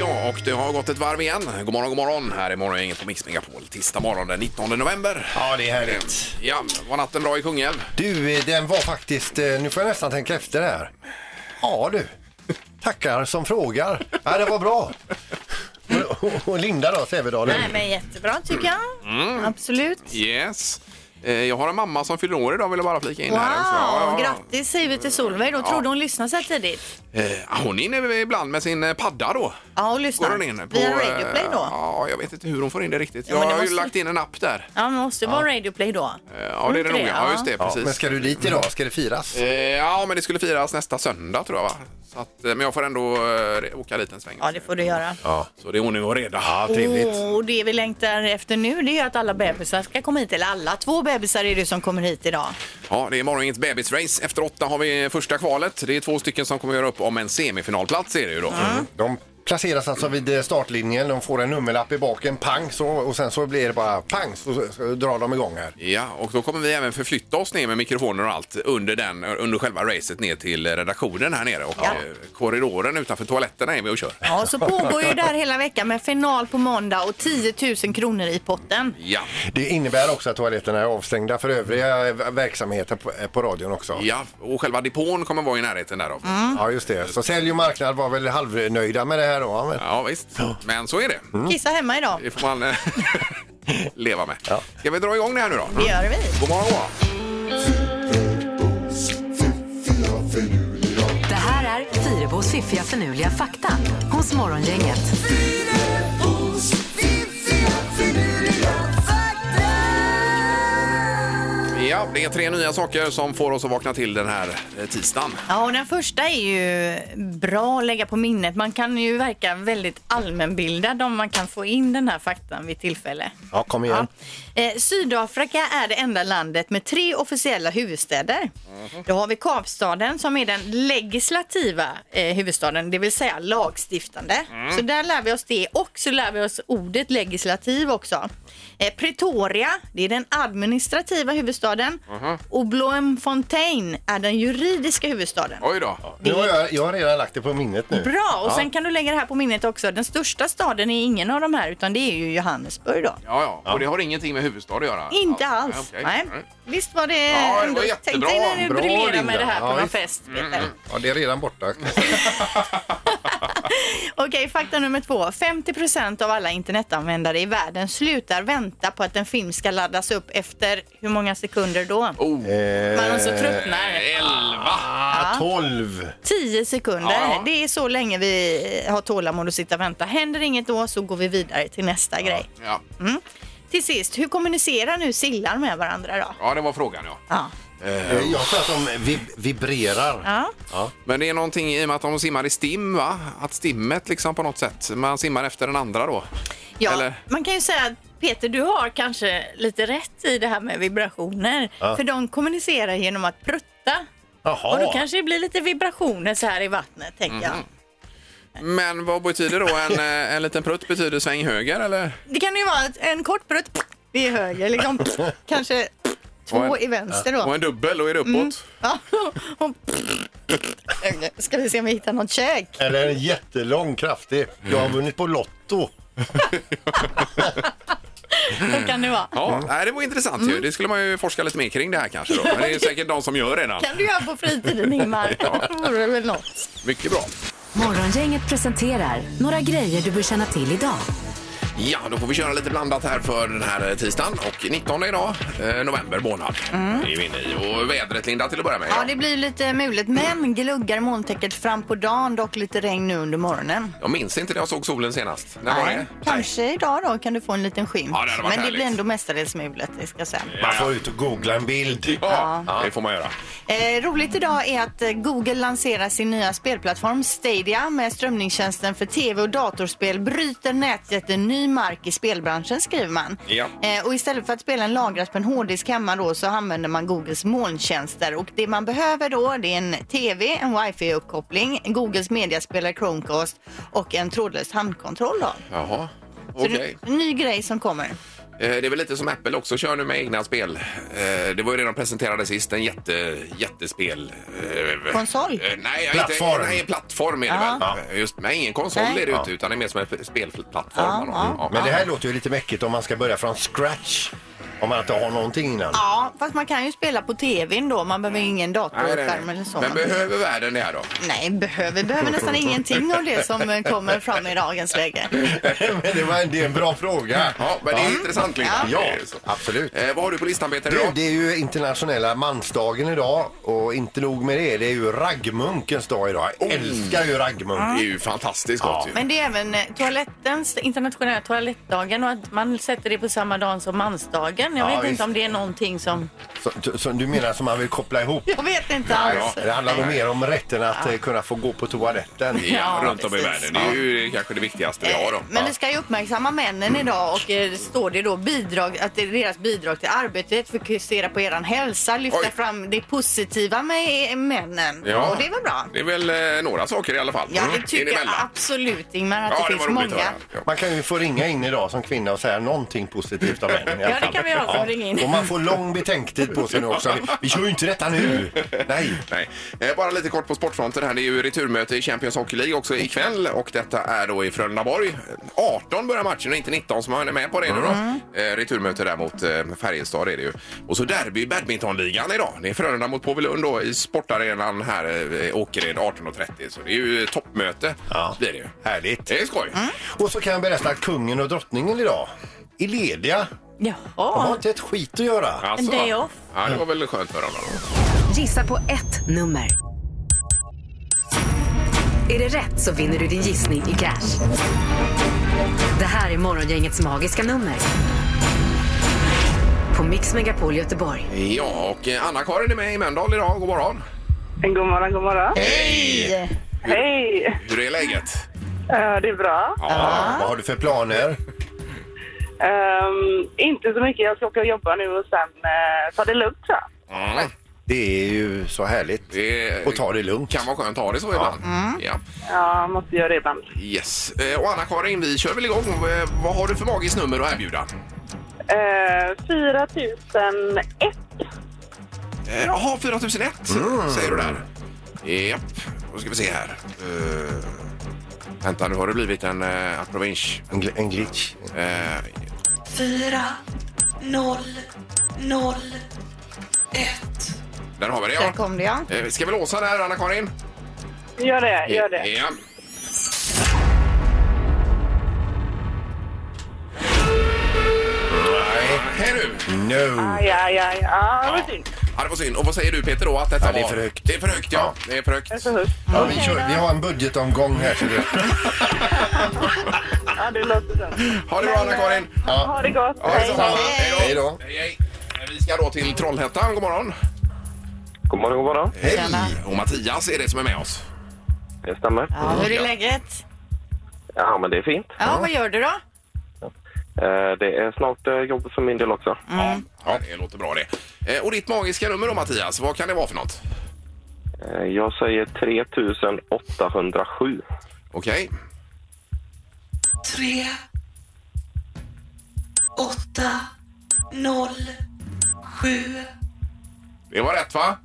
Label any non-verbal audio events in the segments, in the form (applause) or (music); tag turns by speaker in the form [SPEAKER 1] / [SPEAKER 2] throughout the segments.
[SPEAKER 1] har gått ett varv igen. God morgon, god morgon. Här är morgongänget på Mix Megapol. Tisdag morgon den 19 november.
[SPEAKER 2] Ja, det är härligt.
[SPEAKER 1] Ja, var natten bra i Kungälv?
[SPEAKER 2] Du, eh, den var faktiskt... eh, Nu får jag nästan tänka efter här. Ja, du. Tackar som frågar. Ja, det var bra. Och- och- Och Linda då, Sävedalen.
[SPEAKER 3] Nej, men jättebra tycker jag.
[SPEAKER 1] Mm.
[SPEAKER 3] Absolut.
[SPEAKER 1] Yes. Eh, Jag har en mamma som fyller år idag, vill jag bara flika in
[SPEAKER 3] Wow,
[SPEAKER 1] här. också. Ja, ja,
[SPEAKER 3] grattis säger vi till Solveig. Då trodde hon lyssnade så här tidigt.
[SPEAKER 1] ja. Eh, Hon är inne ibland med sin eh, padda då.
[SPEAKER 3] Ja, hon
[SPEAKER 1] Går
[SPEAKER 3] lyssnar.
[SPEAKER 1] hon in på...
[SPEAKER 3] Via
[SPEAKER 1] eh,
[SPEAKER 3] Radioplay då?
[SPEAKER 1] Ja, jag vet inte hur hon får in det riktigt.
[SPEAKER 3] Ja,
[SPEAKER 1] jag
[SPEAKER 3] men det
[SPEAKER 1] har ju
[SPEAKER 3] måste-
[SPEAKER 1] lagt in en app där.
[SPEAKER 3] Ja, men måste det vara Radioplay då?
[SPEAKER 1] Eh, Ja, det är det nog. Ja, just det.
[SPEAKER 2] Ja, men
[SPEAKER 1] Precis.
[SPEAKER 2] ska du dit idag? Ska det firas?
[SPEAKER 1] Eh, Ja, men det skulle firas nästa söndag tror jag va? Så att, eh, men jag får ändå eh, åka dit en sväng. Mm.
[SPEAKER 3] Ja, det får du göra.
[SPEAKER 2] Ja,
[SPEAKER 1] Så det är ordning och reda.
[SPEAKER 3] Och det vi längtar efter nu det är att alla bebisar ska komma hit. Eller alla, två bebisar är det som kommer hit idag.
[SPEAKER 1] Ja, det är morgonens bebisrace. Efter åtta har vi första kvalet. Det är två stycken som kommer göra upp om en semifinalplats är det ju då. Mm.
[SPEAKER 2] De placeras alltså vid eh, startlinjen, de får en nummerlapp i baken, pang, så, och sen så blir det bara pang, så, så, så drar de igång här.
[SPEAKER 1] Ja, och då kommer vi även förflytta oss ner med mikrofoner och allt under, den, under själva racet ner till redaktionen här nere och eh, korridoren utanför toaletterna är vi och kör.
[SPEAKER 3] Ja, så pågår ju där hela veckan med final på måndag och 10 000 kronor i potten.
[SPEAKER 1] Ja,
[SPEAKER 2] Det innebär också att toaletterna är avstängda för övriga eh, verksamheter på, eh, på radion också.
[SPEAKER 1] ja, och själva depån kommer vara i närheten där då.
[SPEAKER 2] Ja, just det. Så sälj och marknad var väl halvnöjda med det här då? va? Men,
[SPEAKER 1] Ja, visst. Men så är det.
[SPEAKER 3] Kissa hemma idag.
[SPEAKER 1] Det får man eh, (laughs) leva med. Ska vi dra igång det här nu då?
[SPEAKER 3] Det gör vi.
[SPEAKER 1] God morgon, god morgon.
[SPEAKER 4] Det här är Fyrabos fiffiga förnuliga fakta hos Morgongänget.
[SPEAKER 1] Ja, det är tre nya saker som får oss att vakna till den här eh, tisdagen.
[SPEAKER 3] Ja, och den första är ju bra att lägga på minnet. Man kan ju verka väldigt allmänbildad om man kan få in den här faktan vid tillfälle.
[SPEAKER 2] ja, kom igen.
[SPEAKER 3] Ja. Eh, Sydafrika är det enda landet med tre officiella huvudstäder. Då har vi Kapstaden som är den legislativa eh, huvudstaden, det vill säga lagstiftande. Så där lär vi oss det och så lär vi oss ordet legislativ också. Eh, Pretoria, det är den administrativa huvudstaden och Bloemfontein är den juridiska huvudstaden.
[SPEAKER 1] Oj då.
[SPEAKER 2] Nu har jag, jag har redan lagt det på minnet nu.
[SPEAKER 3] Bra! Och sen kan du lägga det här på minnet också. Den största staden är ingen av de här utan det är ju Johannesburg då.
[SPEAKER 1] Ja, ja. Och det har ingenting med huvudstad att göra?
[SPEAKER 3] Inte
[SPEAKER 1] Ja,
[SPEAKER 3] alls.
[SPEAKER 1] okej.
[SPEAKER 3] Nej. Visst var det...
[SPEAKER 1] Ja, det var
[SPEAKER 3] ändå-
[SPEAKER 1] jättebra. Mm,
[SPEAKER 3] Tänk dig när du
[SPEAKER 2] Bra,
[SPEAKER 3] briljerar
[SPEAKER 2] Linda.
[SPEAKER 3] med det här på
[SPEAKER 2] Ja,
[SPEAKER 3] någon
[SPEAKER 2] visst.
[SPEAKER 3] fest, Peter.
[SPEAKER 2] Ja, det är redan
[SPEAKER 3] (laughs)
[SPEAKER 2] borta.
[SPEAKER 3] Okej, fakta nummer två. 50 av alla internetanvändare i världen slutar vänta på att en film ska laddas upp efter hur många sekunder då?
[SPEAKER 1] Oh. Eh.
[SPEAKER 3] Man
[SPEAKER 2] Eh,
[SPEAKER 3] också tröttnar.
[SPEAKER 1] Elva!
[SPEAKER 2] Ja, 12.
[SPEAKER 3] 10 sekunder.
[SPEAKER 1] Ja, ja.
[SPEAKER 3] Det är så länge vi har tålamod att sitta och vänta. Händer inget då så går vi vidare till nästa grej.
[SPEAKER 1] Ja.
[SPEAKER 3] Till sist, hur kommunicerar nu sillar med varandra då?
[SPEAKER 1] ja, det var frågan ja.
[SPEAKER 3] Ja.
[SPEAKER 2] Eh, Jag tror att de vib- vibrerar.
[SPEAKER 3] ja.
[SPEAKER 1] Men det är någonting i och med att de simmar i stim va? Att stimmet liksom på något sätt, man simmar efter den andra då?
[SPEAKER 3] Ja,
[SPEAKER 1] Eller?
[SPEAKER 3] man kan ju säga att Peter, du har kanske lite rätt i det här med vibrationer. För de kommunicerar genom att prutta. Och då kanske det blir lite vibrationer så här i vattnet, tänker
[SPEAKER 1] Mhm.
[SPEAKER 3] jag.
[SPEAKER 1] Men vad betyder då en, eh, en liten prutt? Betyder sväng höger eller?
[SPEAKER 3] Det kan ju vara ett- en kort prutt i höger,
[SPEAKER 1] (laughs)
[SPEAKER 3] liksom, kanske två
[SPEAKER 1] Och en-
[SPEAKER 3] i vänster
[SPEAKER 1] Och
[SPEAKER 3] då. Mm.
[SPEAKER 1] en dubbel, och är det uppåt?
[SPEAKER 3] Ja, (laughs) och, ska vi se om vi hittar något käk?
[SPEAKER 2] Eller en jättelång, kraftig. Jag
[SPEAKER 1] Mm.
[SPEAKER 2] har vunnit på Lotto.
[SPEAKER 3] Så kan det vara.
[SPEAKER 1] Ja, nej, det var intressant ju. Det skulle man ju forska lite mer kring det här kanske då. Men Mm. (laughs) det är säkert de som gör redan.
[SPEAKER 3] kan du göra på
[SPEAKER 1] (laughs)
[SPEAKER 3] fritiden, Ingmar. Det vore väl något.
[SPEAKER 1] Mycket bra.
[SPEAKER 4] Morgongänget presenterar några grejer du bör känna till idag.
[SPEAKER 1] Ja, då får vi köra lite blandat här för den här tisdagen. Och 19 idag, eh, november månad, är vi inne i. Och vädret, Linda, till att börja med.
[SPEAKER 3] Ja, det blir lite mulet, men gluggar molntäcket fram på dagen, dock lite regn nu under morgonen.
[SPEAKER 1] Jag minns inte när jag såg solen senast. När var det?
[SPEAKER 3] Nej, kanske idag då kan du få en liten skymt.
[SPEAKER 1] Ja, det hade
[SPEAKER 3] Men
[SPEAKER 1] varit
[SPEAKER 3] det
[SPEAKER 1] härligt.
[SPEAKER 3] blir ändå mestadels mulet, det ska jag säga.
[SPEAKER 2] Man får ut och googla en bild.
[SPEAKER 1] Ja, det får man göra.
[SPEAKER 3] Eh, roligt idag är att eh, Google lanserar sin nya spelplattform Stadia med strömningstjänsten för tv och datorspel bryter nätjätten ny mark i spelbranschen skriver man.
[SPEAKER 1] Ja.
[SPEAKER 3] Eh, och istället för att spelen lagras på en hårddisk hemma då så använder man Googles molntjänster och det man behöver då det är en tv, en wifi-uppkoppling, Googles mediaspelare Chromecast och en trådlös handkontroll då.
[SPEAKER 1] Jaha,
[SPEAKER 3] Så
[SPEAKER 1] okej.
[SPEAKER 3] det är en ny grej som kommer.
[SPEAKER 1] Eh, Det är väl lite som Apple också kör nu med egna spel. Eh, Det var ju det de presenterade sist, en jätte, jättespel... eh,
[SPEAKER 3] Konsol?
[SPEAKER 1] eh, Nej,
[SPEAKER 2] Plattform.
[SPEAKER 1] Inte, nej, plattform är det
[SPEAKER 3] Ja.
[SPEAKER 1] väl. Eh, Just, nej, ingen konsol
[SPEAKER 3] Nej.
[SPEAKER 1] är det ju inte,
[SPEAKER 2] Ja.
[SPEAKER 1] utan det är mer som en f- spelplattform.
[SPEAKER 3] Ja,
[SPEAKER 1] då.
[SPEAKER 3] ja.
[SPEAKER 1] Ja.
[SPEAKER 2] Men det här låter ju lite mäckigt om man ska börja från scratch. Om man inte har någonting innan.
[SPEAKER 3] Ja, fast man kan ju spela på tvn då. Man behöver ingen
[SPEAKER 1] Nej, nej,
[SPEAKER 3] datorskärm
[SPEAKER 1] nej.
[SPEAKER 3] eller så.
[SPEAKER 1] Men behöver världen det här då?
[SPEAKER 3] Nej, behöver, behöver nästan ingenting av det som eh, kommer fram i dagens läge.
[SPEAKER 2] (laughs) Men det, var en, det är en bra fråga.
[SPEAKER 1] Ja, men det är intressant Linda.
[SPEAKER 2] Ja,
[SPEAKER 1] Det är ju så.
[SPEAKER 2] absolut.
[SPEAKER 1] Eh, vad har du på listan Peter
[SPEAKER 2] Du,
[SPEAKER 1] idag?
[SPEAKER 2] det är ju internationella mansdagen idag och inte nog med det, det är ju raggmunkens dag idag. Jag
[SPEAKER 1] Mm.
[SPEAKER 2] älskar ju raggmunk.
[SPEAKER 1] Det är ju fantastiskt gott ju.
[SPEAKER 3] Men det är även eh, toalettens internationella toalettdagen och att man sätter det på samma dag som mansdagen. Jag
[SPEAKER 2] Ja,
[SPEAKER 3] vet
[SPEAKER 2] visst.
[SPEAKER 3] inte om det är någonting som...
[SPEAKER 2] Så, så, du menar som man vill koppla ihop?
[SPEAKER 3] Jag vet inte
[SPEAKER 1] ja,
[SPEAKER 3] alls.
[SPEAKER 2] Det handlar nog mer om rätten att eh, kunna få gå på toaletten.
[SPEAKER 1] Ja,
[SPEAKER 3] Ja,
[SPEAKER 1] runt om i
[SPEAKER 3] precis. Eh,
[SPEAKER 1] världen. Det är ju kanske det viktigaste vi har Mm. då.
[SPEAKER 3] Men vi ska ju uppmärksamma männen idag och eh, står det då bidrag, att det är deras bidrag till arbetet, fokusera på eran hälsa, lyfta
[SPEAKER 1] Oj.
[SPEAKER 3] fram det positiva med eh, männen.
[SPEAKER 1] Ja.
[SPEAKER 3] Och det är väl bra?
[SPEAKER 1] Det är väl eh, några saker i alla fall.
[SPEAKER 3] Ja, det
[SPEAKER 1] Mm.
[SPEAKER 3] tycker jag
[SPEAKER 1] Inemellan.
[SPEAKER 3] absolut Ingmar,
[SPEAKER 1] Ja,
[SPEAKER 3] att det
[SPEAKER 1] det var
[SPEAKER 3] finns
[SPEAKER 1] roligt att
[SPEAKER 3] många.
[SPEAKER 1] höra. Ja.
[SPEAKER 2] Man kan ju få ringa in idag som kvinna och säga någonting positivt om männen. i alla
[SPEAKER 3] Ja, det
[SPEAKER 2] fall.
[SPEAKER 3] kan vi ha som ringer in.
[SPEAKER 2] Och man får lång betänktid på sig nu också. Vi- Vi kör ju inte detta nu! Nej.
[SPEAKER 1] Nej. Eh, Bara lite kort på sportfronten här. Det är ju returmöte i Champions Hockey League också ikväll och detta är då i Frölundaborg. 18 börjar matchen och inte 19 som man är med på det nu då. Eh, Returmöte där mot eh, Färjestad är det ju. Och så derby i badmintonligan idag. Det är Frölunda mot Påvelund då i sportarenan här eh, i Åkered 18.30. Så det är ju toppmöte
[SPEAKER 2] Ja.
[SPEAKER 1] blir det ju.
[SPEAKER 2] Härligt.
[SPEAKER 1] Det är skoj.
[SPEAKER 2] Och så kan jag berätta att kungen och drottningen idag är lediga. De har
[SPEAKER 3] Jaha.
[SPEAKER 2] inte ett skit att göra.
[SPEAKER 1] Alltså,
[SPEAKER 3] En day off.
[SPEAKER 1] Ja, det var väl skönt för honom. då.
[SPEAKER 4] Gissa på ett nummer. Är det rätt så vinner du din gissning i cash. Det här är Morgongängets magiska nummer. På Mix Megapol Göteborg.
[SPEAKER 1] Ja, och eh, Anna-Karin är med i Mölndal idag. God morgon.
[SPEAKER 5] God morgon, god morgon.
[SPEAKER 1] Hej!
[SPEAKER 5] Hej!
[SPEAKER 1] Hur är läget?
[SPEAKER 5] Eh, det är bra.
[SPEAKER 2] Vad har du för planer?
[SPEAKER 5] Ehm, inte så mycket. Jag ska åka och jobba nu och sen eh, ta det lugnt. Så.
[SPEAKER 1] Mm.
[SPEAKER 2] Det är ju så härligt.
[SPEAKER 1] Det
[SPEAKER 2] Och ta det lugnt.
[SPEAKER 1] kan vara skönt att ha det så ibland. Ja. Mm.
[SPEAKER 5] Ja, måste göra det ibland.
[SPEAKER 1] Yes. Eh, Och Anna-Karin, vi kör väl igång. Eh, Vad har du för magiskt nummer att erbjuda?
[SPEAKER 5] Uh, 4001.
[SPEAKER 1] Eh, Jaha, 4001 säger du där. Mm. Japp, då ska vi se här. Eh, vänta, nu har det blivit en eh, approvinch.
[SPEAKER 2] En, gl- en glitch.
[SPEAKER 1] Eh,
[SPEAKER 6] fyra noll noll ett
[SPEAKER 1] där har vi det,
[SPEAKER 3] Där
[SPEAKER 1] ja.
[SPEAKER 3] kom det ja.
[SPEAKER 1] Eh, ska vi låsa där, Anna-Karin?
[SPEAKER 5] Gör det, gör det.
[SPEAKER 1] Ja. Nej, här nu.
[SPEAKER 2] No!
[SPEAKER 5] Aj, aj, aj. Ja, det var synd.
[SPEAKER 1] Ja, det var synd. Och vad säger du Peter då? Att detta
[SPEAKER 2] Ja, det är
[SPEAKER 1] var-
[SPEAKER 2] för högt.
[SPEAKER 1] Det är för högt, ja. Det är för högt.
[SPEAKER 5] Det är så högt.
[SPEAKER 2] Ja, vi, kör, vi har en budgetomgång här. Så det,
[SPEAKER 5] Ja, det låter så.
[SPEAKER 1] Ha det bra Anna-Karin.
[SPEAKER 5] Ha det gott.
[SPEAKER 1] Ja, detsamma.
[SPEAKER 2] Hej då.
[SPEAKER 1] Hej, hej. Vi ska då till Trollhättan. God morgon.
[SPEAKER 7] God morgon, god morgon.
[SPEAKER 2] hej!
[SPEAKER 3] Tjena.
[SPEAKER 1] Och Mattias är det som är med oss.
[SPEAKER 7] Det stämmer.
[SPEAKER 3] Ja, hur är läget?
[SPEAKER 7] Ja, men det är fint.
[SPEAKER 3] Ja, vad gör du då?
[SPEAKER 7] Eh, Det är snart eh, jobb för min del också.
[SPEAKER 3] Mm.
[SPEAKER 5] Mm.
[SPEAKER 1] Ja, det låter bra det. Eh, Och ditt magiska nummer då Mattias, vad kan det vara för något?
[SPEAKER 7] Eh, Jag säger 3807.
[SPEAKER 1] Okej.
[SPEAKER 6] tre åtta noll sju
[SPEAKER 1] Det var rätt va?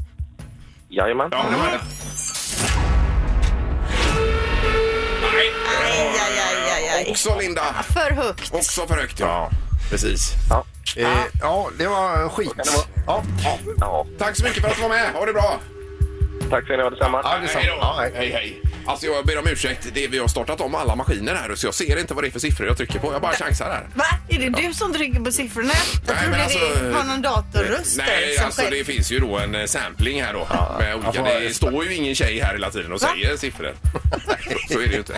[SPEAKER 7] Jajamän.
[SPEAKER 1] Ja, det var rätt. Nej. Också Linda.
[SPEAKER 3] För högt.
[SPEAKER 1] Också för högt ja. Precis.
[SPEAKER 7] Ja.
[SPEAKER 2] Eh, ja, det var skit. Ja,
[SPEAKER 7] ja.
[SPEAKER 1] Tack så mycket för att du var med. Ha det bra.
[SPEAKER 7] Tack ska ni ha, detsamma.
[SPEAKER 2] ja det är sant.
[SPEAKER 1] Hej då.
[SPEAKER 2] Ja, hej.
[SPEAKER 1] hej, hej. Alltså jag ber om ursäkt. Det, vi har startat om alla maskiner här så jag ser inte vad det är för siffror jag trycker på. Jag bara chansar här.
[SPEAKER 3] Va? Är det du som trycker på siffrorna? Jag
[SPEAKER 1] Nej,
[SPEAKER 3] trodde
[SPEAKER 1] men
[SPEAKER 3] det
[SPEAKER 1] alltså,
[SPEAKER 3] var någon datorröst där
[SPEAKER 1] Nej,
[SPEAKER 3] som
[SPEAKER 1] alltså
[SPEAKER 3] själv-
[SPEAKER 1] det finns ju då en eh, sampling här då. med olika,
[SPEAKER 2] alltså,
[SPEAKER 1] det står ju ingen tjej här hela tiden och säger siffror. så är det ju inte.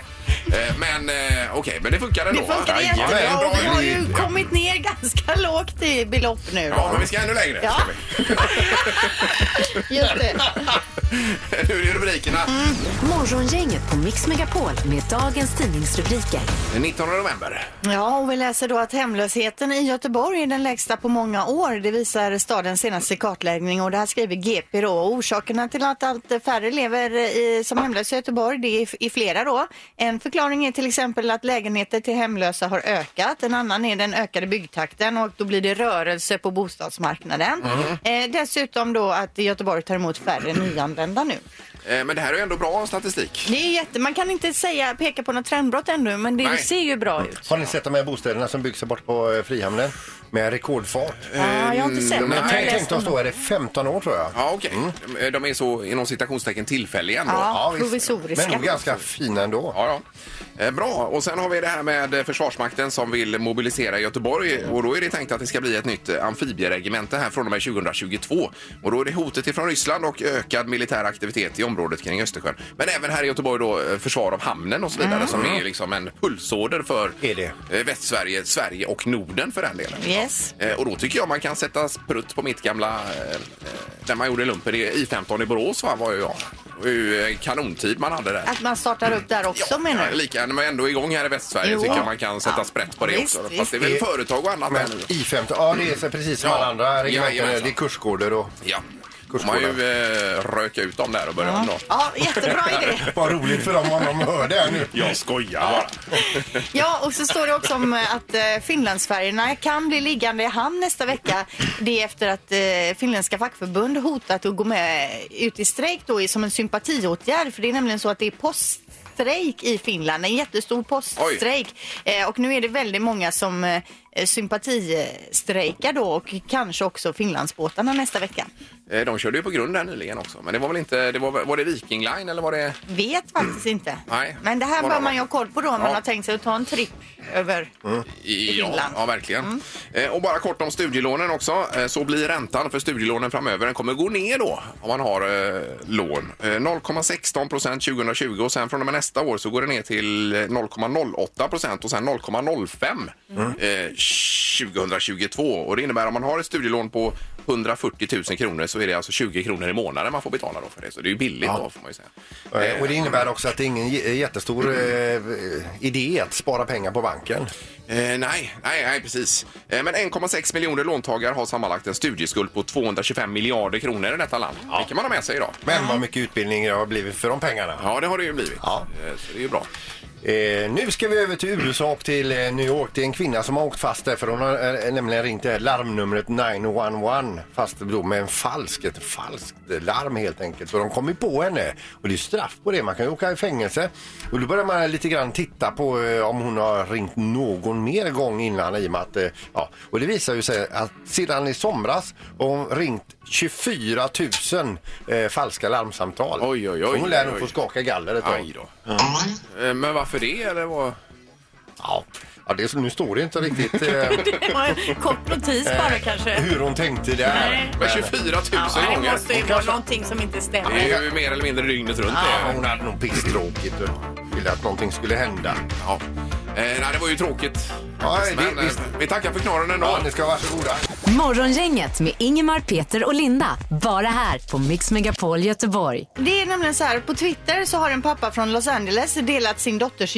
[SPEAKER 1] Eh, Men eh, okej, men det funkar ändå.
[SPEAKER 3] Det funkar
[SPEAKER 1] va?
[SPEAKER 3] jättebra
[SPEAKER 1] Jajamän,
[SPEAKER 3] och vi
[SPEAKER 1] bra
[SPEAKER 3] har
[SPEAKER 1] idé.
[SPEAKER 3] ju kommit ner (laughs) ganska lågt i belopp nu.
[SPEAKER 1] Ja,
[SPEAKER 3] då.
[SPEAKER 1] men vi ska ännu längre.
[SPEAKER 3] Ja.
[SPEAKER 1] Ska
[SPEAKER 3] Just det.
[SPEAKER 1] vi. (laughs) nu är det rubrikerna.
[SPEAKER 4] Morgongänget på Mix Megapol med dagens tidningsrubriker.
[SPEAKER 1] 19 Eh, november.
[SPEAKER 3] Ja, och vi läser då att hemlösheten i Göteborg är den lägsta på många år. Det visar stadens senaste kartläggning och det här skriver GP då. Och Orsakerna till att allt färre lever i, som hemlösa i Göteborg, det är i flera då. En förklaring förklaring är till exempel att lägenheter till hemlösa har ökat. En annan är den ökade byggtakten och då blir det rörelse på bostadsmarknaden. Eh, dessutom då att Göteborg tar emot färre nyanlända nu.
[SPEAKER 1] Eh, Men det här är ju ändå bra statistik.
[SPEAKER 3] Det är jätte, man kan inte säga, peka på något trendbrott ännu, men det
[SPEAKER 1] Nej.
[SPEAKER 3] ser ju bra ut.
[SPEAKER 2] Har ni sett de här bostäderna som byggs här bort på eh, Frihamnen med rekordfart?
[SPEAKER 3] Ah, jag har inte sett
[SPEAKER 2] De
[SPEAKER 3] men jag
[SPEAKER 2] är
[SPEAKER 3] har
[SPEAKER 2] tänkt-
[SPEAKER 3] läst
[SPEAKER 2] tänkt oss
[SPEAKER 3] om
[SPEAKER 2] då, är det 15 år tror jag?
[SPEAKER 1] Ja, okej. Eh, De är så inom citationstecken tillfälliga ändå.
[SPEAKER 3] Mm. Ja.
[SPEAKER 2] visst.
[SPEAKER 3] provisoriska.
[SPEAKER 2] Men nog ganska fina ändå.
[SPEAKER 1] Ja, ja. Eh, Bra, och sen har vi det här med eh, Försvarsmakten som vill mobilisera Göteborg och då är det tänkt att det ska bli ett nytt eh, amfibieregemente här från och med 2022. Och då är det hotet ifrån Ryssland och ökad militär aktivitet i området kring Östersjön. Men även här i Göteborg då eh, försvar av hamnen och så vidare som är liksom en pulsåder för
[SPEAKER 2] Mm. Är det?
[SPEAKER 1] eh, Västsverige, Sverige och Norden för den delen.
[SPEAKER 3] Yes.
[SPEAKER 1] Eh, Och då tycker jag man kan sätta sprutt på mitt gamla, eh, eh, där man gjorde lumpen i I 15 i Borås va, var ju jag. Det var ju en kanontid man hade där.
[SPEAKER 3] Att man startar upp där också menar
[SPEAKER 1] Ja,
[SPEAKER 3] du?
[SPEAKER 1] lika, men ändå igång här i Västsverige
[SPEAKER 3] Jo.
[SPEAKER 1] tycker jag man kan sätta
[SPEAKER 3] Ja.
[SPEAKER 1] sprätt på det
[SPEAKER 3] Visst,
[SPEAKER 1] också. Fast
[SPEAKER 3] visst.
[SPEAKER 1] det är väl företag och annat där
[SPEAKER 2] Men
[SPEAKER 1] nu.
[SPEAKER 2] I-15, ja det är så precis som
[SPEAKER 1] Ja.
[SPEAKER 2] alla andra regementen.
[SPEAKER 1] Jajamensan.
[SPEAKER 2] Det är kursgårdar och...
[SPEAKER 1] Ja. Då man ju eh, röka ut dem där och börja om då.
[SPEAKER 3] Ja, jättebra idé.
[SPEAKER 2] Vad roligt för dem om de hör det här nu.
[SPEAKER 1] Jag skojar bara.
[SPEAKER 3] Ja, och så står det också om eh, att eh, Finlandsfärjorna kan bli liggande i hamn nästa vecka. Det är efter att eh, finländska fackförbund hotat att gå med ut i strejk då i- som en sympatiåtgärd. För det är nämligen så att det är poststrejk i Finland, en jättestor poststrejk. Eh, och nu är det väldigt många som eh, sympatistrejkar då och kanske också Finlandsbåtarna nästa vecka.
[SPEAKER 1] Eh, De körde ju på grund där nyligen också. Men det var väl inte, det var, var det Viking Line eller var det?
[SPEAKER 3] Vet faktiskt inte.
[SPEAKER 1] Nej.
[SPEAKER 3] Men det här
[SPEAKER 1] Vad
[SPEAKER 3] bör
[SPEAKER 1] bra.
[SPEAKER 3] man ju ha koll på då om man
[SPEAKER 1] Ja. Mm.
[SPEAKER 3] har tänkt sig att ta en tripp över
[SPEAKER 1] I, ja,
[SPEAKER 3] Finland.
[SPEAKER 1] ja, verkligen. Eh, och bara kort om studielånen också. Eh, så blir räntan för studielånen framöver, den kommer gå ner då om man har eh, lån. Eh, 0,16 procent 2020 och sen från och med nästa år så går det ner till eh, 0,08 procent och sen 0,05 eh, 2022. Och det innebär om man har ett studielån på 140 000 kronor så är det alltså 20 kronor i månaden man får betala då för det. Så det är ju billigt då får man ju säga.
[SPEAKER 2] Eh, Och det innebär också att det är ingen j- jättestor eh, idé att spara pengar på banken.
[SPEAKER 1] Eh, nej, nej, nej, precis. Eh, men 1,6 miljoner låntagare har sammanlagt en studieskuld på 225 miljarder kronor i detta land. Det kan man ha med sig idag.
[SPEAKER 2] Men vad mycket utbildning det har blivit för de pengarna.
[SPEAKER 1] Ja, det har det ju blivit.
[SPEAKER 2] Ja.
[SPEAKER 1] Eh, så det är ju bra.
[SPEAKER 2] Eh, nu ska vi över till USA och till eh, New York. Det är en kvinna som har åkt fast där för hon har eh, nämligen ringt det här larmnumret 911 fast då med en falsk, ett falskt larm helt enkelt. Så de kom ju på henne och det är straff på det. Man kan ju åka i fängelse. Och då börjar man lite grann titta på eh, om hon har ringt någon mer gång innan i och med att, eh, ja. Och det visar ju sig att sedan i somras har hon ringt 24 000 eh, falska larmsamtal.
[SPEAKER 1] Oj, oj, oj,
[SPEAKER 2] Så hon lär nog
[SPEAKER 1] oj.
[SPEAKER 2] få skaka galler ett tag.
[SPEAKER 1] Aj då. Eh, men varför det? Eller vad?
[SPEAKER 2] Ja, ja det, är så- nu står det inte riktigt eh,
[SPEAKER 3] Det var en (laughs) kort notis bara kanske.
[SPEAKER 2] hur hon tänkte där.
[SPEAKER 1] Men 24 000
[SPEAKER 3] Ja, det
[SPEAKER 1] gånger?
[SPEAKER 3] måste ju vara någonting som inte stämmer.
[SPEAKER 1] Det är ju mer eller mindre dygnet runt.
[SPEAKER 2] Ja,
[SPEAKER 1] det.
[SPEAKER 2] hon hade nog pisstråkigt och ville att någonting skulle hända.
[SPEAKER 1] Ja. Eh, nej, det var ju tråkigt.
[SPEAKER 2] Ja, det-
[SPEAKER 1] men, eh,
[SPEAKER 2] visst.
[SPEAKER 1] vi tackar för knorren ändå.
[SPEAKER 2] Ja, ni ska vara varsågoda.
[SPEAKER 4] Morgongänget med Ingemar, Peter och Linda. Bara här på Mix Megapol Göteborg.
[SPEAKER 3] Det är nämligen så här, på Twitter så har en pappa från Los Angeles delat sin dotters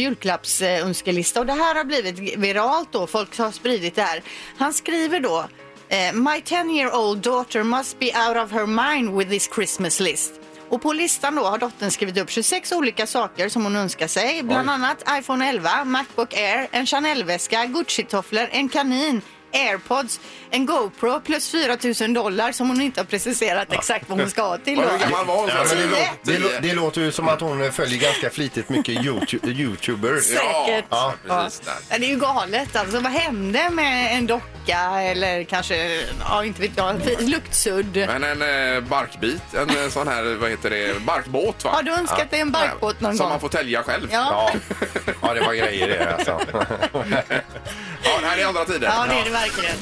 [SPEAKER 3] julklappsönskelista och det här har blivit viralt då, folk har spridit det här. Han skriver då eh, My 10 year old daughter must be out of her mind with this Christmas list. Och på listan då har dottern skrivit upp 26 olika saker som hon önskar sig. Bland annat iPhone 11, Macbook Air, en Chanel-väska, Gucci-tofflor, en kanin, Airpods, en GoPro plus 4 000 dollar som hon inte har preciserat exakt vad hon ska ha till.
[SPEAKER 1] Vad-
[SPEAKER 3] då.
[SPEAKER 1] Hur gammal var hon?
[SPEAKER 2] Ja, men det, lå- det, lå-
[SPEAKER 1] Tio.
[SPEAKER 2] det låter ju som att hon följer ganska flitigt mycket YouTube, YouTubers.
[SPEAKER 3] Säkert.
[SPEAKER 1] Ja,
[SPEAKER 2] Ja.
[SPEAKER 1] precis. Där.
[SPEAKER 3] Ja, Det är ju galet. Alltså, vad hände med en docka eller kanske, ja inte vet jag, fi- luktsudd?
[SPEAKER 1] Men en eh, barkbit, en eh, sån här, vad heter det, barkbåt va?
[SPEAKER 3] Har du önskat dig en barkbåt någon
[SPEAKER 1] Som
[SPEAKER 3] gång?
[SPEAKER 1] man får tälja själv.
[SPEAKER 3] Ja.
[SPEAKER 2] Ja, det var grejer
[SPEAKER 1] (laughs)
[SPEAKER 2] det alltså.
[SPEAKER 1] Ja, det här är andra tider.
[SPEAKER 3] ja, det är det verkligen.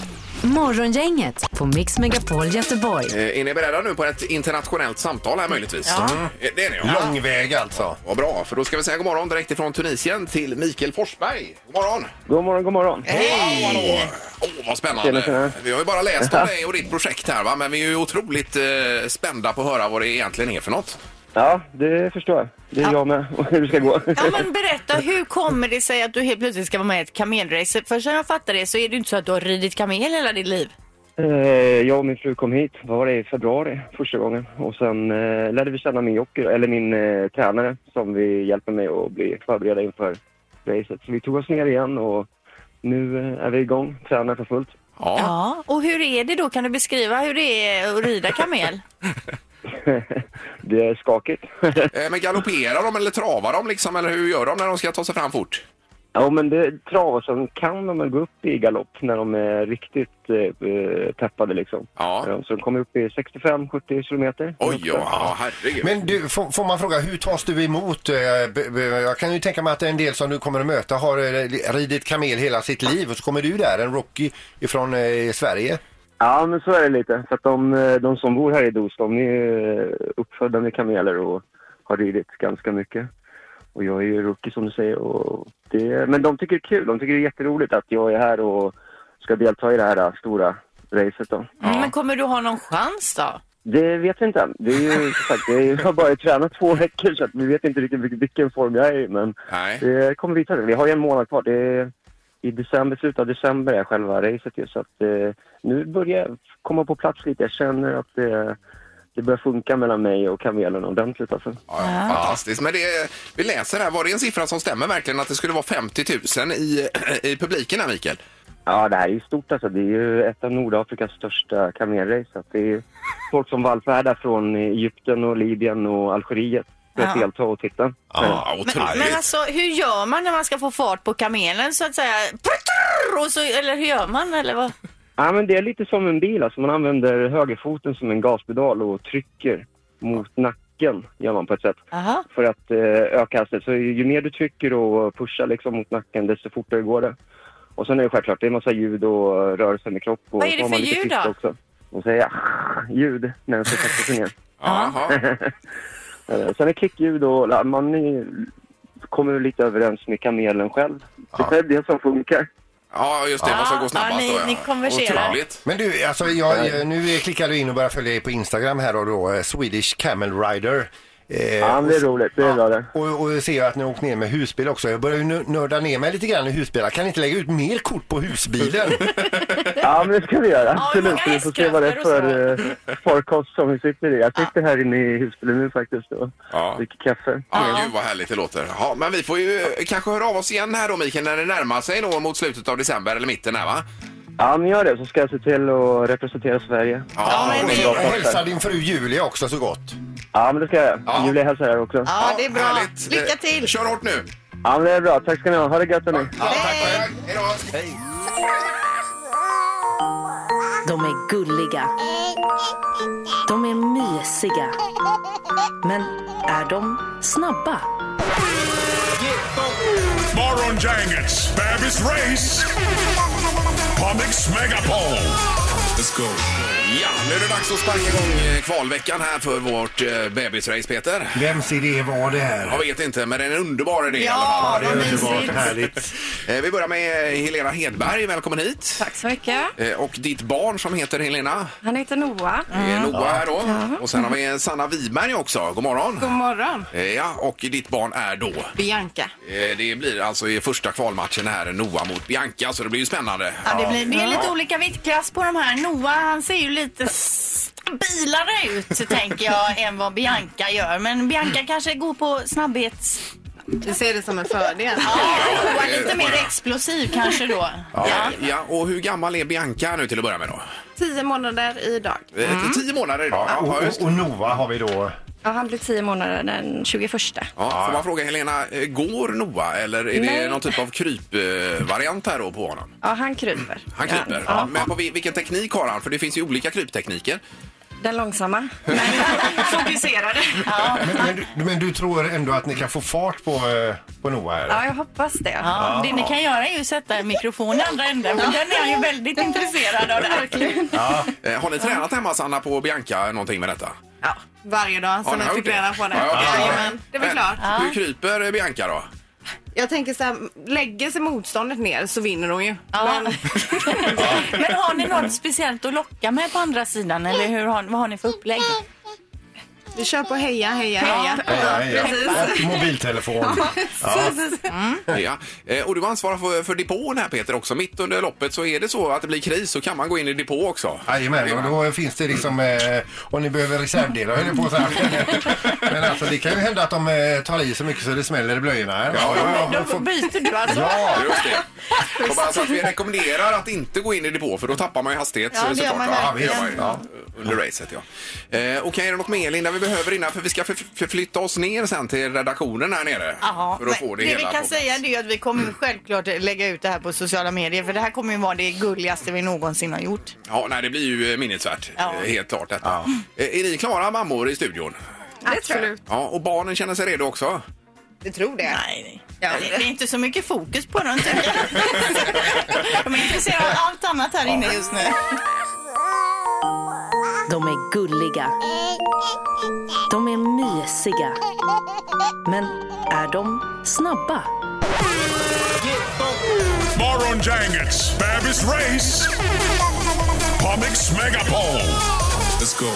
[SPEAKER 4] Morgongänget på Mix Megapol Göteborg.
[SPEAKER 1] Eh, Är ni beredda nu på ett internationellt samtal här möjligtvis?
[SPEAKER 3] Ja.
[SPEAKER 1] Eh, Det är ni ja.
[SPEAKER 2] Lång väg alltså.
[SPEAKER 1] Vad bra, för då ska vi säga god morgon direkt ifrån Tunisien till Mikael Forsberg. God morgon!
[SPEAKER 7] God morgon, god morgon.
[SPEAKER 1] Hej! Hallå! Åh, vad
[SPEAKER 7] Tjena,
[SPEAKER 1] spännande!
[SPEAKER 7] tjena.
[SPEAKER 1] Vi har ju bara läst om dig och ditt projekt här, va? men vi är ju otroligt eh, spända på att höra vad det egentligen är för något.
[SPEAKER 7] Ja, det förstår jag. Det är jag med. (laughs) Och hur det ska gå.
[SPEAKER 3] Ja, men berätta, hur kommer det sig att du helt plötsligt ska vara med i ett kamelrace? För som jag fattar det så är det ju inte så att du har ridit kamel hela ditt liv.
[SPEAKER 7] Eh, Jag och min fru kom hit, vad var det, i februari första gången. Och sen eh, lärde vi känna min jockey, eller min eh, tränare som vi hjälper mig att bli förbereda inför racet. Så vi tog oss ner igen och nu eh, är vi igång, tränar för fullt.
[SPEAKER 1] Ja.
[SPEAKER 3] Ja, och hur är det då? Kan du beskriva hur det är att
[SPEAKER 1] (laughs)
[SPEAKER 3] rida kamel?
[SPEAKER 7] Det är skakigt. (laughs)
[SPEAKER 1] Eh, Men galopperar de eller travar de liksom? Eller hur gör de när de ska ta sig fram fort?
[SPEAKER 7] ja, men det travar så kan de väl gå upp i galopp när de är riktigt eh, eh, peppade liksom.
[SPEAKER 1] Ja.
[SPEAKER 7] Eh, Så de kommer upp i 65-70 kilometer.
[SPEAKER 1] Oj, ja, ja herregud.
[SPEAKER 2] Men du, får, får man fråga, hur tas du emot? eh, b- b- Jag kan ju tänka mig att en del som du kommer att möta har eh, ridit kamel hela sitt liv och så kommer du där, en rookie ifrån eh, Sverige.
[SPEAKER 7] Ja, men så är det lite. För att de, eh, de som bor här i Dos, de är ju eh, uppfödda med kameler och har ridit ganska mycket. Och jag är ju rookie som du säger. Och det, men de tycker det är kul. De tycker det är jätteroligt att jag är här och ska delta i det här eh, stora racet då.
[SPEAKER 3] Men kommer du ha någon chans då?
[SPEAKER 7] Det vet vi inte än. Det är ju som sagt, det är, jag har bara tränat två veckor så att vi vet inte riktigt vilken- vilken form jag är i. Men
[SPEAKER 1] Nej.
[SPEAKER 7] det kommer vi ta. Vi har ju en månad kvar. Det är, I december, slutet av december är själva racet ju. Så att, eh, nu börjar jag komma på plats lite. Jag känner att det, det börjar funka mellan mig och kamelen ordentligt alltså.
[SPEAKER 1] Ja, ja, fantastiskt. Men det, vi läser här, var det en siffra som stämmer verkligen att det skulle vara 50 000 i, (clears throat) i publiken här Mikael?
[SPEAKER 7] Ja, det här är ju stort alltså. Det är ju ett av Nordafrikas största kamelrace. Så att Det är ju folk som vallfärdar från Egypten och Libyen och Algeriet för att
[SPEAKER 3] Ja.
[SPEAKER 7] delta och titta.
[SPEAKER 1] Ja,
[SPEAKER 3] Men, men alltså hur gör man när man ska få fart på kamelen så att säga? Pruttur! Och så, eller hur gör man? Eller vad?
[SPEAKER 7] Ja, men det är lite som en bil. Alltså man använder högerfoten som en gaspedal och trycker mot nacken gör man på ett sätt
[SPEAKER 3] Aha.
[SPEAKER 7] för att eh, öka hastigheten. Så ju ju mer du trycker och pushar liksom mot nacken desto fortare går det. Och sen är det självklart, det är en massa ljud och eh, rörelser med kropp. Och
[SPEAKER 3] Vad är det
[SPEAKER 7] så har man
[SPEAKER 3] för
[SPEAKER 7] lite
[SPEAKER 3] ljud
[SPEAKER 7] tyst
[SPEAKER 3] då?
[SPEAKER 7] Också. Och säger ah, ljud när den ska sätta sig ner.
[SPEAKER 1] Jaha.
[SPEAKER 7] Eh, sen är klickljud och la- man är, kommer lite överens med kamelen själv. Det är det som funkar.
[SPEAKER 1] Ja, just det. Vad som
[SPEAKER 3] Ja,
[SPEAKER 1] går snabbast
[SPEAKER 3] ja, ni-
[SPEAKER 1] då, ja.
[SPEAKER 3] ni konverserar.
[SPEAKER 1] Otroligt.
[SPEAKER 2] Men du, alltså jag, jag- nu klickar du in och börjar följa dig på Instagram här och då, eh, Swedish Camel Rider. Eh,
[SPEAKER 7] Ja, det är roligt. Det är bra det.
[SPEAKER 2] Och, och jag ser att ni har åkt ner med husbil också. Jag börjar ju nö- nörda ner mig lite grann i husbilar. Kan ni inte lägga ut mer kort på husbilen?
[SPEAKER 7] Ja, men det ska vi göra.
[SPEAKER 3] hur
[SPEAKER 7] Absolut.
[SPEAKER 3] många
[SPEAKER 7] Vi får se vad det är
[SPEAKER 3] hästkrafter
[SPEAKER 7] för eh, farkost som vi sitter i. Jag sitter här inne i husbilen nu faktiskt och
[SPEAKER 1] Ja.
[SPEAKER 7] dricker kaffe.
[SPEAKER 1] Ja, gud vad härligt det låter. Ja, men vi får ju eh, kanske höra av oss igen här då Mikael när det närmar sig då mot slutet av december eller mitten här va?
[SPEAKER 7] Ja, men gör det så ska jag se till att representera Sverige.
[SPEAKER 1] Ja,
[SPEAKER 3] men
[SPEAKER 1] det-
[SPEAKER 7] det-
[SPEAKER 2] och hälsa din fru Julia också så gott.
[SPEAKER 7] Ja, men det ska jag göra.
[SPEAKER 1] Ja.
[SPEAKER 7] Julia hälsar här också.
[SPEAKER 3] Ja, det är bra.
[SPEAKER 1] härligt.
[SPEAKER 3] Lycka
[SPEAKER 1] Eh,
[SPEAKER 3] till!
[SPEAKER 1] Kör hårt nu.
[SPEAKER 7] Ja, men det är bra. Tack ska ni ha. Ha det gött nu.
[SPEAKER 1] Ja, tack för det. Hej då.
[SPEAKER 4] De är gulliga. De är mysiga. Men är de snabba?
[SPEAKER 8] Morgongänget, Babys race. Comics Megapol. Let's go.
[SPEAKER 1] Ja, nu är det dags att sparka igång eh, kvalveckan här för vårt eh, bebisrace Peter.
[SPEAKER 2] Vems idé var det här?
[SPEAKER 1] Jag vet inte, men det är en underbar idé i alla fall.
[SPEAKER 3] Ja, vad
[SPEAKER 2] Underbart
[SPEAKER 3] mysigt!
[SPEAKER 2] härligt.
[SPEAKER 1] Eh, Vi börjar med Helena Hedberg. Välkommen hit.
[SPEAKER 9] Tack så mycket.
[SPEAKER 1] Eh, Och ditt barn som heter Helena,
[SPEAKER 9] Han heter Noah. Mm.
[SPEAKER 1] det är Noah här då. Och sen har vi eh, Sanna Wiberg också. God morgon.
[SPEAKER 9] God morgon.
[SPEAKER 1] Eh, Ja, och ditt barn är då?
[SPEAKER 9] Bianca.
[SPEAKER 1] Eh, Det blir alltså i första kvalmatchen här Noah mot Bianca, så det blir ju spännande.
[SPEAKER 3] Ja, det, blir, det är lite olika viktklass på de här. Noah han ser ju lite stabilare ut tänker jag än vad Bianca gör. Men Bianca kanske går på snabbhets...
[SPEAKER 9] Du ser det som en fördel.
[SPEAKER 3] Noah är lite mer explosiv kanske då.
[SPEAKER 1] Ja. ja, och hur gammal är Bianca nu till att börja med då?
[SPEAKER 9] Tio månader idag.
[SPEAKER 1] Eh, Tio månader idag.
[SPEAKER 2] Ja,
[SPEAKER 1] Ja,
[SPEAKER 2] och,
[SPEAKER 1] just.
[SPEAKER 2] och, och Noah har vi då.
[SPEAKER 9] Ja, han blir tio månader den 21.
[SPEAKER 1] Ja, får man fråga Helena, eh, går Noah eller är det
[SPEAKER 9] Nej.
[SPEAKER 1] någon typ av krypvariant här då på honom?
[SPEAKER 9] Ja, han kryper.
[SPEAKER 1] Han kryper. Ja. Men på vil- vilken teknik har han? För det finns ju olika kryptekniker.
[SPEAKER 9] Den långsamma.
[SPEAKER 3] Fokuserade. Ja.
[SPEAKER 2] Men, men, du, men du tror ändå att ni kan få fart på, eh, på Noah? Här?
[SPEAKER 9] Ja, jag hoppas det.
[SPEAKER 3] Ja, det ni kan göra är ju att sätta en mikrofon i andra änden för den är han ju väldigt intresserad av. Verkligen.
[SPEAKER 1] Eh, Har ni tränat hemma Sanna på Bianca någonting med detta?
[SPEAKER 9] Ja, varje dag alltså.
[SPEAKER 1] Har
[SPEAKER 9] sen
[SPEAKER 1] ni
[SPEAKER 9] jag
[SPEAKER 1] gjort
[SPEAKER 9] fick reda på det.
[SPEAKER 1] Ja, okej.
[SPEAKER 9] Jajamän, det var
[SPEAKER 1] Men
[SPEAKER 9] klart.
[SPEAKER 1] Eh, Hur kryper eh, Bianca då?
[SPEAKER 9] Jag tänker så här, lägger sig motståndet ner så vinner hon ju.
[SPEAKER 3] Ja. (laughs)
[SPEAKER 9] Men
[SPEAKER 3] Men har ni något speciellt att locka med på andra sidan eller hur har, vad har ni för upplägg?
[SPEAKER 9] Vi kör på heja, heja, heja.
[SPEAKER 2] Ja, ja. Och mobiltelefon. Ja.
[SPEAKER 1] Ja. Eh, Och du var ansvarig för, för depån här Peter också. Mitt under loppet så är det så att det blir kris så kan man gå in i depå också.
[SPEAKER 2] Jajamän, och då finns det liksom, eh, om ni behöver reservdelar höll jag på så här. (laughs) Men alltså det kan ju hända att de eh, tar i så mycket så det smäller i blöjorna. här.
[SPEAKER 1] Ja, ja,
[SPEAKER 2] De
[SPEAKER 3] Då
[SPEAKER 2] får-
[SPEAKER 3] byter du alltså?
[SPEAKER 2] Ja,
[SPEAKER 1] Just det. Och bara så att vi rekommenderar att inte gå in i depå för då tappar man ju hastighet
[SPEAKER 3] Ja, det
[SPEAKER 1] såklart.
[SPEAKER 3] gör man
[SPEAKER 1] ja,
[SPEAKER 2] verkligen.
[SPEAKER 1] ju. Under racet ja. Eh, Okej, är det något mer Linda vi behöver innan? För vi ska för- förflytta oss ner sen till redaktionen här nere.
[SPEAKER 3] Jaha,
[SPEAKER 1] för att få
[SPEAKER 3] men
[SPEAKER 1] det,
[SPEAKER 3] det
[SPEAKER 1] hela
[SPEAKER 3] vi
[SPEAKER 1] på
[SPEAKER 3] kan
[SPEAKER 1] plats. Mm.
[SPEAKER 3] säga det är att vi kommer självklart lägga ut det här på sociala medier för det här kommer ju vara det gulligaste vi någonsin har gjort.
[SPEAKER 1] Ja, nej det blir ju eh, minnesvärt.
[SPEAKER 3] Ja.
[SPEAKER 1] Eh, Helt klart detta. Eh, Är ni klara mammor i studion?
[SPEAKER 9] Absolut.
[SPEAKER 1] Ja, och barnen känner sig redo också?
[SPEAKER 9] Du tror det?
[SPEAKER 3] Nej, nej. Ja, det det är inte så mycket fokus på dem tycker jag. (laughs) De är intresserade av allt annat här inne just nu.
[SPEAKER 4] De är gulliga. De är mysiga. Men är de snabba?
[SPEAKER 8] Morgongängets bebisrace på Mix Megapol. Let's go.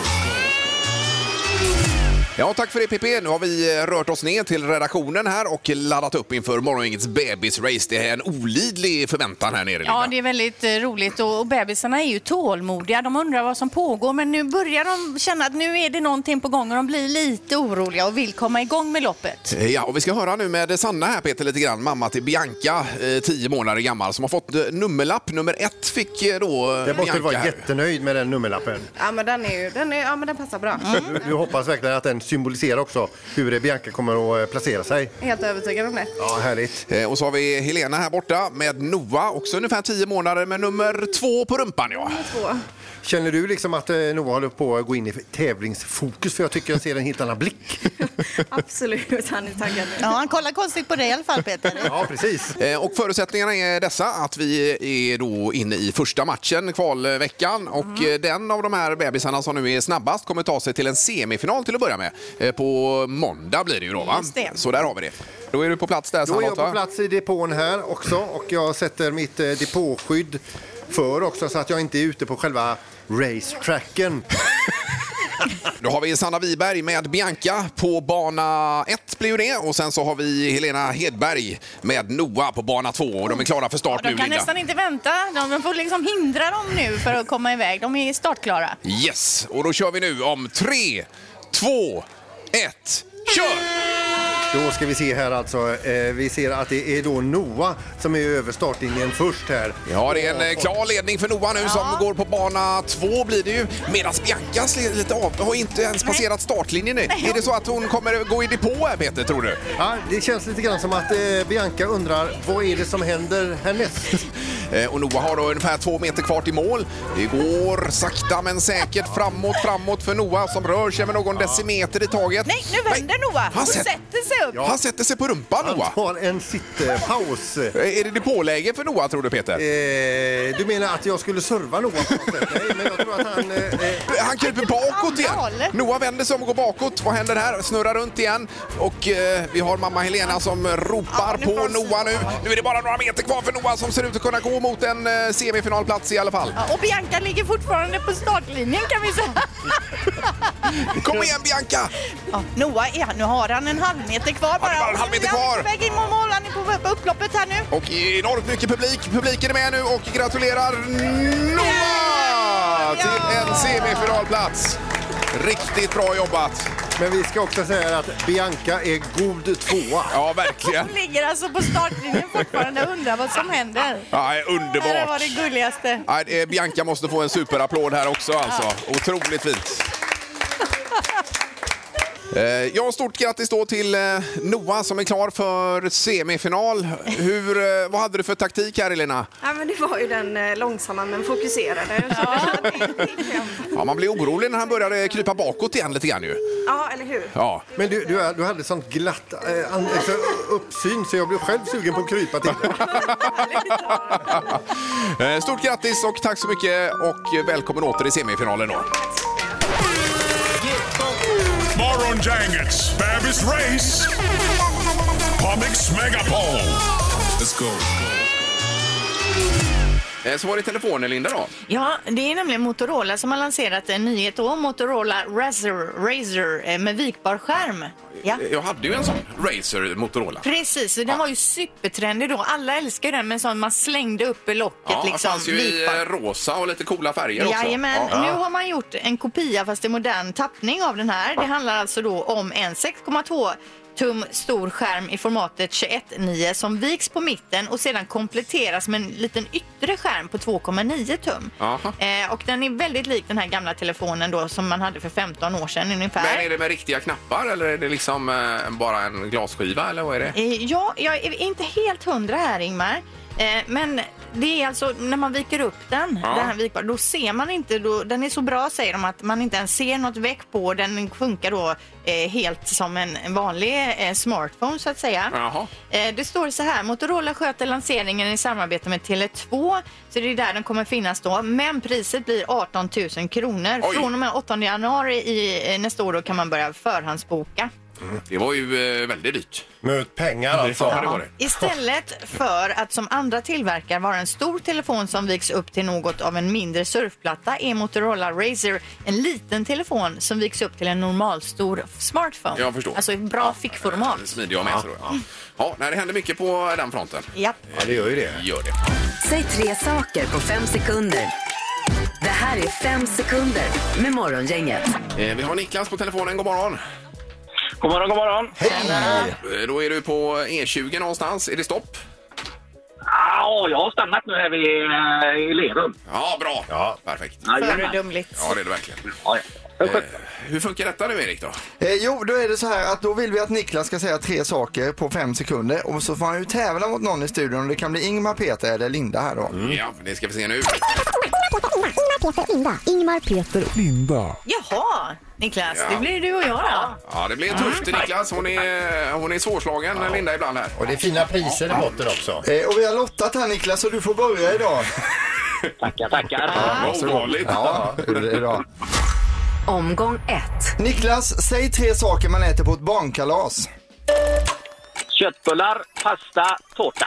[SPEAKER 1] Ja, tack för det PP. Nu har vi eh, rört oss ner till redaktionen här och laddat upp inför morgongängets bebisrace. Det är en olidlig förväntan här nere.
[SPEAKER 10] Ja,
[SPEAKER 1] Linda.
[SPEAKER 10] det är väldigt eh, roligt och, och bebisarna är ju tålmodiga. De undrar vad som pågår men nu börjar de känna att nu är det någonting på gång och de blir lite oroliga och vill komma igång med loppet.
[SPEAKER 1] Eh, Ja, och vi ska höra nu med Sanna här Peter lite grann, mamma till Bianca, eh, tio månader gammal, som har fått eh, nummerlapp. Nummer ett fick eh, då eh,
[SPEAKER 2] Jag måste
[SPEAKER 1] Bianca
[SPEAKER 2] väl vara
[SPEAKER 1] här.
[SPEAKER 2] jättenöjd med den nummerlappen.
[SPEAKER 9] Ja, men den är ju, den är, ja men den passar bra.
[SPEAKER 2] Vi hoppas verkligen att den symboliserar också hur Bianca kommer att eh, placera sig.
[SPEAKER 9] Helt övertygad om det.
[SPEAKER 2] Ja, härligt.
[SPEAKER 1] Eh, Och så har vi Helena här borta med Noah, också ungefär tio månader, med nummer två på rumpan. Ja.
[SPEAKER 2] Känner du liksom att eh, Noah håller på att gå in i tävlingsfokus? För jag tycker jag ser en helt
[SPEAKER 9] (laughs)
[SPEAKER 2] annan blick.
[SPEAKER 9] Absolut, han är taggad nu.
[SPEAKER 10] Ja, han kollar konstigt på dig i alla fall Peter.
[SPEAKER 2] Ja, precis.
[SPEAKER 1] Eh, Och förutsättningarna är dessa att vi är då inne i första matchen, kvalveckan. Och eh, den av de här bebisarna som nu är snabbast kommer ta sig till en semifinal till att börja med. Eh, På måndag blir det ju då va?
[SPEAKER 10] Just det.
[SPEAKER 1] Så där har vi det. Då är du på plats där
[SPEAKER 2] Då är
[SPEAKER 1] Sandra.
[SPEAKER 2] jag på plats i depån här också och jag sätter mitt eh, depåskydd för också så att jag inte är ute på själva racetracken.
[SPEAKER 1] Då har vi Sanna Wiberg med Bianca på bana 1 blir ju det. Och sen så har vi Helena Hedberg med Noah på bana 2. Och de är klara för start
[SPEAKER 10] Och de
[SPEAKER 1] nu
[SPEAKER 10] kan
[SPEAKER 1] Linda.
[SPEAKER 10] nästan inte vänta. De får liksom hindra dem nu för att komma iväg. De är startklara.
[SPEAKER 1] Yes, och då kör vi nu om 3, 2, 1, kör!
[SPEAKER 2] Då ska vi se här alltså. Eh, vi ser att det är då Noah som är över startlinjen först här.
[SPEAKER 1] Ja, det är en eh, klar ledning för Noah nu som går på bana 2 blir det ju. Medan Bianca sl- lite av, har inte ens passerat startlinjen nu. Är det så att hon kommer gå i depå här Peter, tror du?
[SPEAKER 2] Ja, det känns lite grann som att eh, Bianca undrar vad är det som händer härnäst?
[SPEAKER 1] Eh, Och Noah har då ungefär två meter kvar till mål. Det går sakta men säkert framåt, framåt för Noah som rör sig med någon decimeter i taget.
[SPEAKER 10] Nej, nu vänder Noah
[SPEAKER 1] Han,
[SPEAKER 10] och
[SPEAKER 1] sätt,
[SPEAKER 10] sätter sig upp.
[SPEAKER 1] han sätter sig på rumpan (laughs)
[SPEAKER 2] Han
[SPEAKER 1] Noah.
[SPEAKER 2] tar en sittpaus.
[SPEAKER 1] Eh, Är det depåläge för Noah tror du Peter?
[SPEAKER 2] Eh, du menar att jag skulle serva Noah på något sätt? Nej, men jag tror att han... Eh, eh,
[SPEAKER 1] Han kryper bakåt igen.
[SPEAKER 10] galet.
[SPEAKER 1] Noah vänder sig om och går bakåt. Vad händer här? Snurrar runt igen. Och eh, vi har mamma Helena som ropar på Noah nu. Nu är det bara några meter kvar för Noah som ser ut att kunna gå mot en eh, semifinalplats i alla fall.
[SPEAKER 10] Ja, Och Bianca ligger fortfarande på startlinjen kan vi säga.
[SPEAKER 1] Kom igen Bianca!
[SPEAKER 10] Ja, Noah, är, nu har han en halv meter kvar bara.
[SPEAKER 1] det är bara en halv meter
[SPEAKER 10] Han är
[SPEAKER 1] kvar.
[SPEAKER 10] på väg in mot mål. Han är på- på upploppet här nu.
[SPEAKER 1] Och enormt mycket publik. Publiken är med nu och gratulerar Noah till en semifinalplats. Riktigt bra jobbat!
[SPEAKER 2] men vi ska också säga att Bianca är god tvåa.
[SPEAKER 1] Ja, verkligen.
[SPEAKER 10] Hon ligger alltså på startlinjen fortfarande och undrar vad som händer.
[SPEAKER 1] Nej,
[SPEAKER 10] Det här var
[SPEAKER 1] underbart!
[SPEAKER 10] det gulligaste.
[SPEAKER 1] Nej, det är- Bianca måste få en superapplåd här också. Alltså. Otroligt fint. Eh, Ja, stort grattis då till eh, Noah som är klar för semifinal. Hur, eh, vad hade du för taktik här, Elina?
[SPEAKER 9] Ja, men det var ju den eh, långsamma men fokuserade. Ja.
[SPEAKER 1] Ja, man blir orolig när han började krypa bakåt igen lite grann ju.
[SPEAKER 9] ja, eller hur?
[SPEAKER 1] Ja.
[SPEAKER 2] Men du, du, du hade sånt glatt eh, an, alltså, uppsyn så jag blev själv sugen på att krypa till dig.
[SPEAKER 1] (laughs) Eh, Stort grattis och tack så mycket och välkommen åter i semifinalen då.
[SPEAKER 8] Morgongängets bebisrace på Mix Megapol. Let's go.
[SPEAKER 1] Eh, Så var det telefonen Linda då.
[SPEAKER 3] Ja, det är nämligen Motorola som har lanserat en nyhet då. Motorola Razr, Razr eh, med vikbar skärm. Ja.
[SPEAKER 1] Eh, Jag hade ju en sån Razer Motorola.
[SPEAKER 3] Precis, och den var ju supertrendig då. Alla älskar ju den med sån man slängde upp i locket
[SPEAKER 1] Ja, det
[SPEAKER 3] liksom.
[SPEAKER 1] fanns ju i eh, rosa och lite coola färger också.
[SPEAKER 3] Jajamän.
[SPEAKER 1] Ja.
[SPEAKER 3] Nu har man gjort en kopia fast i modern tappning av den här. Det handlar alltså då om en 6,2 tum stor skärm i formatet 21.9 som viks på mitten och sedan kompletteras med en liten yttre skärm på 2,9 tum.
[SPEAKER 1] Jaha.
[SPEAKER 3] Eh, och den är väldigt lik den här gamla telefonen då som man hade för 15 år sedan ungefär.
[SPEAKER 1] Men är det med riktiga knappar eller är det liksom eh, bara en glasskiva eller vad är det?
[SPEAKER 3] Eh, Ja, jag är inte helt hundra här Ingmar. Eh, Men det är alltså när man viker upp den,
[SPEAKER 1] Ja.
[SPEAKER 3] den här vikbar, då ser man inte, då, den är så bra säger de att man inte ens ser något väck på. Den funkar då eh, helt som en en vanlig eh, smartphone så att säga.
[SPEAKER 1] Jaha.
[SPEAKER 3] Eh, Det står så här, Motorola sköter lanseringen i samarbete med Tele2, så det är där den kommer finnas då. Men priset blir 18 000 kronor.
[SPEAKER 1] Oj.
[SPEAKER 3] Från och med 8 januari i, eh, nästa år då kan man börja förhandsboka.
[SPEAKER 1] Det var ju eh, väldigt dyrt.
[SPEAKER 8] Möt pengar alltså.
[SPEAKER 1] Ja, det var det.
[SPEAKER 3] Istället för att som andra tillverkare vara en stor telefon som viks upp till något av en mindre surfplatta är Motorola Razr en liten telefon som viks upp till en normalstor smartphone.
[SPEAKER 1] Jag förstår.
[SPEAKER 3] Alltså i bra fickformat.
[SPEAKER 1] Smidiga att ha med sig då. Ja. Ja, nej, det händer mycket på den fronten.
[SPEAKER 3] Japp.
[SPEAKER 8] (laughs) Ja, det gör ju det.
[SPEAKER 1] Gör det.
[SPEAKER 4] Säg tre saker på fem sekunder. Det här är fem sekunder med Morgongänget.
[SPEAKER 1] Eh, Vi har Niklas på telefonen. God morgon.
[SPEAKER 5] God morgon, god morgon.
[SPEAKER 1] Eh, Då är du på E20 någonstans. Är det stopp?
[SPEAKER 5] Ah, jag har stannat nu här vid, eh, i Lerum.
[SPEAKER 1] Ja, bra.
[SPEAKER 8] Ja.
[SPEAKER 1] Perfekt.
[SPEAKER 3] Föredömligt.
[SPEAKER 1] Ja, det är det verkligen.
[SPEAKER 5] Ja, ja.
[SPEAKER 1] Eh, Hur funkar detta nu, Erik? då?
[SPEAKER 2] Eh, jo, då är det så här att då vill vi att Niklas ska säga tre saker på fem sekunder och så får han ju tävla mot någon i studion och det kan bli Ingmar, Peter eller Linda här då.
[SPEAKER 8] Mm.
[SPEAKER 1] Ja, det ska vi se nu.
[SPEAKER 6] Ingmar, Peter, Linda.
[SPEAKER 3] Jaha, Niklas,
[SPEAKER 1] Ja.
[SPEAKER 3] det blir du och jag då.
[SPEAKER 1] Ja, det blir tufft,
[SPEAKER 2] Ah.
[SPEAKER 1] Niklas. Hon är, hon är svårslagen, Linda, ibland här.
[SPEAKER 8] Och det är fina priser i botten också.
[SPEAKER 2] Eh, och vi har lottat här Niklas så du får börja idag.
[SPEAKER 5] Tackar, tackar.
[SPEAKER 1] Vad ovanligt.
[SPEAKER 2] Ja, gjorde det idag.
[SPEAKER 4] Omgång ett.
[SPEAKER 2] Niklas, säg tre saker man äter på ett barnkalas.
[SPEAKER 5] Köttbullar, pasta, tårta.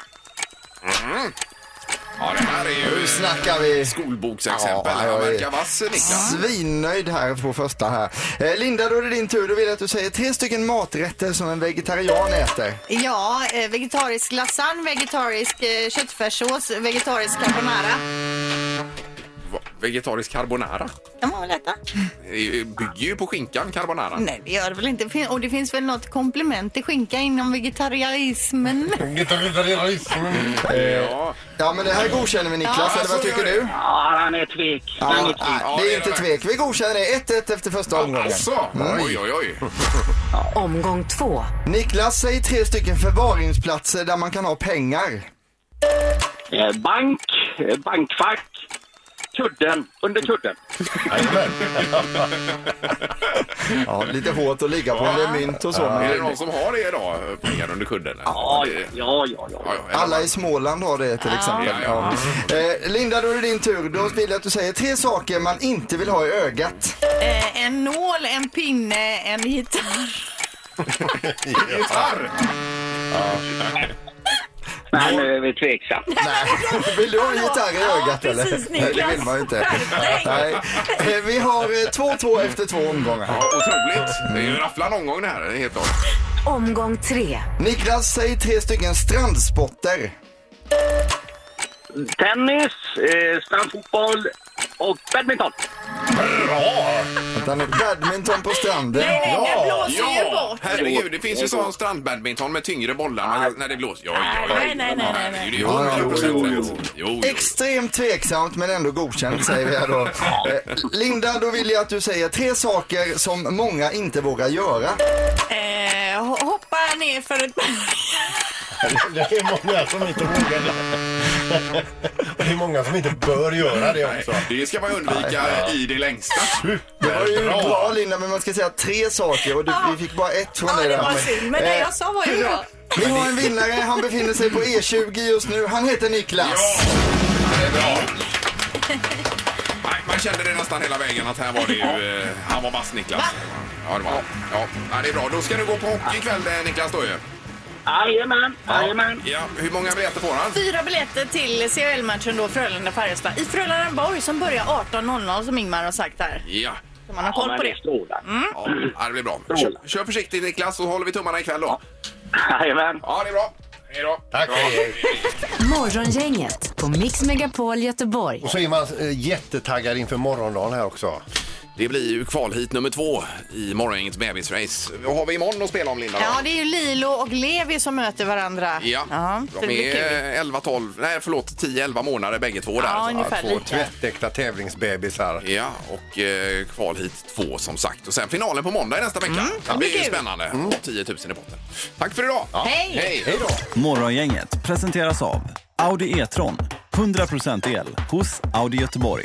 [SPEAKER 1] Ja, det här är ju
[SPEAKER 2] Snackar vi
[SPEAKER 1] skolboksexempel.
[SPEAKER 2] Ja,
[SPEAKER 1] Han
[SPEAKER 2] jag är-
[SPEAKER 1] verkar vass, Niklas.
[SPEAKER 2] svinnöjd här på första här. Eh, Linda, då är det din tur. Då vill jag att du säger tre stycken maträtter som en vegetarian äter.
[SPEAKER 3] Ja, eh, vegetarisk lasagne, vegetarisk eh, köttfärssås, vegetarisk carbonara.
[SPEAKER 1] Va- Vegetarisk carbonara.
[SPEAKER 3] Kan man väl äta?
[SPEAKER 1] Det är ju- bygger ju på skinkan, carbonara.
[SPEAKER 3] Nej, det gör det väl inte. Fin- Och det finns väl något komplement till skinka inom vegetarianismen?
[SPEAKER 1] Ja.
[SPEAKER 2] Ja, men det här godkänner vi Niklas,
[SPEAKER 1] Ja,
[SPEAKER 2] eller
[SPEAKER 1] så
[SPEAKER 2] vad tycker
[SPEAKER 1] gör det.
[SPEAKER 2] du?
[SPEAKER 11] Ja, han är tvek. Han är
[SPEAKER 2] Ja,
[SPEAKER 11] tvek.
[SPEAKER 2] nej, det är inte Mm. tvek. Vi godkänner det. 1-1 efter första omgången.
[SPEAKER 1] Alltså, oj, oj, oj.
[SPEAKER 4] Omgång två.
[SPEAKER 2] Niklas, säg tre stycken förvaringsplatser där man kan ha pengar.
[SPEAKER 5] Eh, Bank, eh, bankfack, kudden, under kudden.
[SPEAKER 2] Ja, lite hårt att ligga på en del mynt och så.
[SPEAKER 1] Är det
[SPEAKER 2] Men
[SPEAKER 1] någon som har det idag? Pengar under kudden?
[SPEAKER 5] Ja,
[SPEAKER 1] Det-
[SPEAKER 5] ja, ja, ja.
[SPEAKER 1] ja, ja,
[SPEAKER 2] alla i Småland har det till exempel.
[SPEAKER 1] Ja,
[SPEAKER 2] Ja. Eh, Linda, då är det din tur. Då vill jag att du säger tre saker man inte vill ha i ögat.
[SPEAKER 3] Eh, en nål, en pinne, en gitarr.
[SPEAKER 1] Gitarr!
[SPEAKER 5] Nej, nu är vi tveksamma.
[SPEAKER 2] Vill du ha en gitarr i
[SPEAKER 3] Ja,
[SPEAKER 2] ögat eller?
[SPEAKER 3] precis,
[SPEAKER 2] Nej, det vill man ju inte. Nej. Eh, Vi har eh, 2-2 efter två omgångar.
[SPEAKER 1] Ja, otroligt. Det är ju en rafflande omgång det här, helt och hållet.
[SPEAKER 4] Omgång tre.
[SPEAKER 2] Niklas, säg tre stycken strandsporter.
[SPEAKER 5] Tennis, eh, strandfotboll och badminton.
[SPEAKER 2] Vänta nu, badminton på stranden.
[SPEAKER 3] Den blåser ju
[SPEAKER 1] Ja,
[SPEAKER 3] bort.
[SPEAKER 1] herregud. Det finns ju sån strandbadminton med tyngre bollar man- när det blåser. Ja, ja, ja.
[SPEAKER 3] Nej, nej, nej, nej,
[SPEAKER 1] Det är
[SPEAKER 3] nej.
[SPEAKER 1] ju 100 procent rätt. Jo, jo.
[SPEAKER 2] Extremt tveksamt men ändå godkänt säger vi här då. Eh, Linda, då vill jag att du säger tre saker som många inte vågar göra.
[SPEAKER 3] Eh, ho- hoppa ner för ett
[SPEAKER 8] Det är många som inte vågar det. Och det är många som inte bör göra det också.
[SPEAKER 1] Det ska man undvika i det längsta.
[SPEAKER 2] Det var ju
[SPEAKER 8] Bra.
[SPEAKER 2] bra Linda, men man ska säga tre saker och du, vi fick bara ett från
[SPEAKER 3] Ja,
[SPEAKER 2] dig
[SPEAKER 3] det
[SPEAKER 2] där.
[SPEAKER 3] var synd. Men det
[SPEAKER 2] Eh,
[SPEAKER 3] jag sa var ju bra.
[SPEAKER 2] Vi har en vinnare, han befinner sig på E20 just nu. Han heter Niklas.
[SPEAKER 1] Det är bra. Nej, man kände det nästan hela vägen att här var
[SPEAKER 3] (laughs)
[SPEAKER 1] det ju... Eh, han var vass, Niklas. Ja, det var han. ja. ja, det är bra. Då ska du gå på hockey ikväll, eh, Niklas. Då ju.
[SPEAKER 5] Jajamän, jajamän.
[SPEAKER 1] Ja, hur många biljetter får han?
[SPEAKER 3] Fyra biljetter till CHL-matchen då Frölunda-Färjestad i Frölundaborg som börjar 18.00 som Ingmar har sagt här.
[SPEAKER 1] Ja.
[SPEAKER 3] Så man har koll på det.
[SPEAKER 1] Ja, ja, det blir bra. Kör, kör försiktigt Niklas så håller vi tummarna ikväll då.
[SPEAKER 5] Jajamän.
[SPEAKER 1] Ja, det är bra. Hej då.
[SPEAKER 2] Tack.
[SPEAKER 12] Morgongänget på Mix Megapol Göteborg.
[SPEAKER 2] Och så är man eh, jättetaggad inför morgondagen här också.
[SPEAKER 1] Det blir ju kvalhit nummer två i morgongängets bebisrace. Vad har vi imorgon att spela om Linda? då?
[SPEAKER 3] Ja, det är ju Lilo och Levi som möter varandra.
[SPEAKER 1] Ja,
[SPEAKER 3] så
[SPEAKER 1] de
[SPEAKER 3] det blir kul.
[SPEAKER 1] är 11, 12, nej förlåt 10, 11 månader bägge två där.
[SPEAKER 3] Ja,
[SPEAKER 1] Så-
[SPEAKER 3] ungefär
[SPEAKER 2] Två
[SPEAKER 3] lika.
[SPEAKER 2] tvättäkta tävlingsbebisar.
[SPEAKER 1] Ja, och eh, kval hit två som sagt. Och sen finalen på måndag i nästa vecka. det blir ju
[SPEAKER 3] Mm, kul. Mm.
[SPEAKER 1] spännande. Och 10 000 i potten. Tack för idag!
[SPEAKER 3] Hej.
[SPEAKER 1] Hej då!
[SPEAKER 13] Morgongänget presenteras av Audi E-tron. 100% el hos Audi Göteborg.